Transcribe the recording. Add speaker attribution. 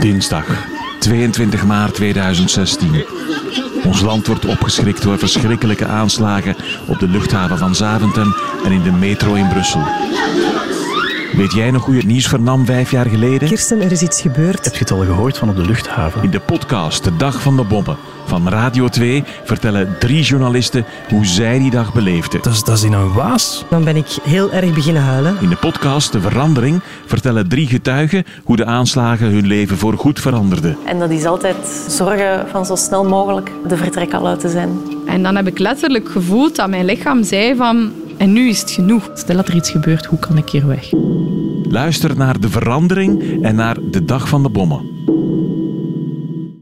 Speaker 1: Dinsdag, 22 maart 2016. Ons land wordt opgeschrikt door verschrikkelijke aanslagen op de luchthaven van Zaventem en in de metro in Brussel. Weet jij nog hoe je het nieuws vernam vijf jaar geleden?
Speaker 2: Kirsten, er is iets gebeurd.
Speaker 3: Heb je het al gehoord van op de luchthaven?
Speaker 1: In de podcast De Dag van de Bommen van Radio 2 vertellen drie journalisten hoe zij die dag beleefden.
Speaker 3: Dat is, dat is in een waas.
Speaker 2: Dan ben ik heel erg beginnen huilen.
Speaker 1: In de podcast De Verandering vertellen drie getuigen hoe de aanslagen hun leven voorgoed veranderden.
Speaker 4: En dat is altijd zorgen van zo snel mogelijk de vertrek al uit te zijn.
Speaker 5: En dan heb ik letterlijk gevoeld dat mijn lichaam zei van... En nu is het genoeg.
Speaker 6: Stel dat er iets gebeurt, hoe kan ik hier weg?
Speaker 1: Luister naar De Verandering en naar De Dag van de Bommen.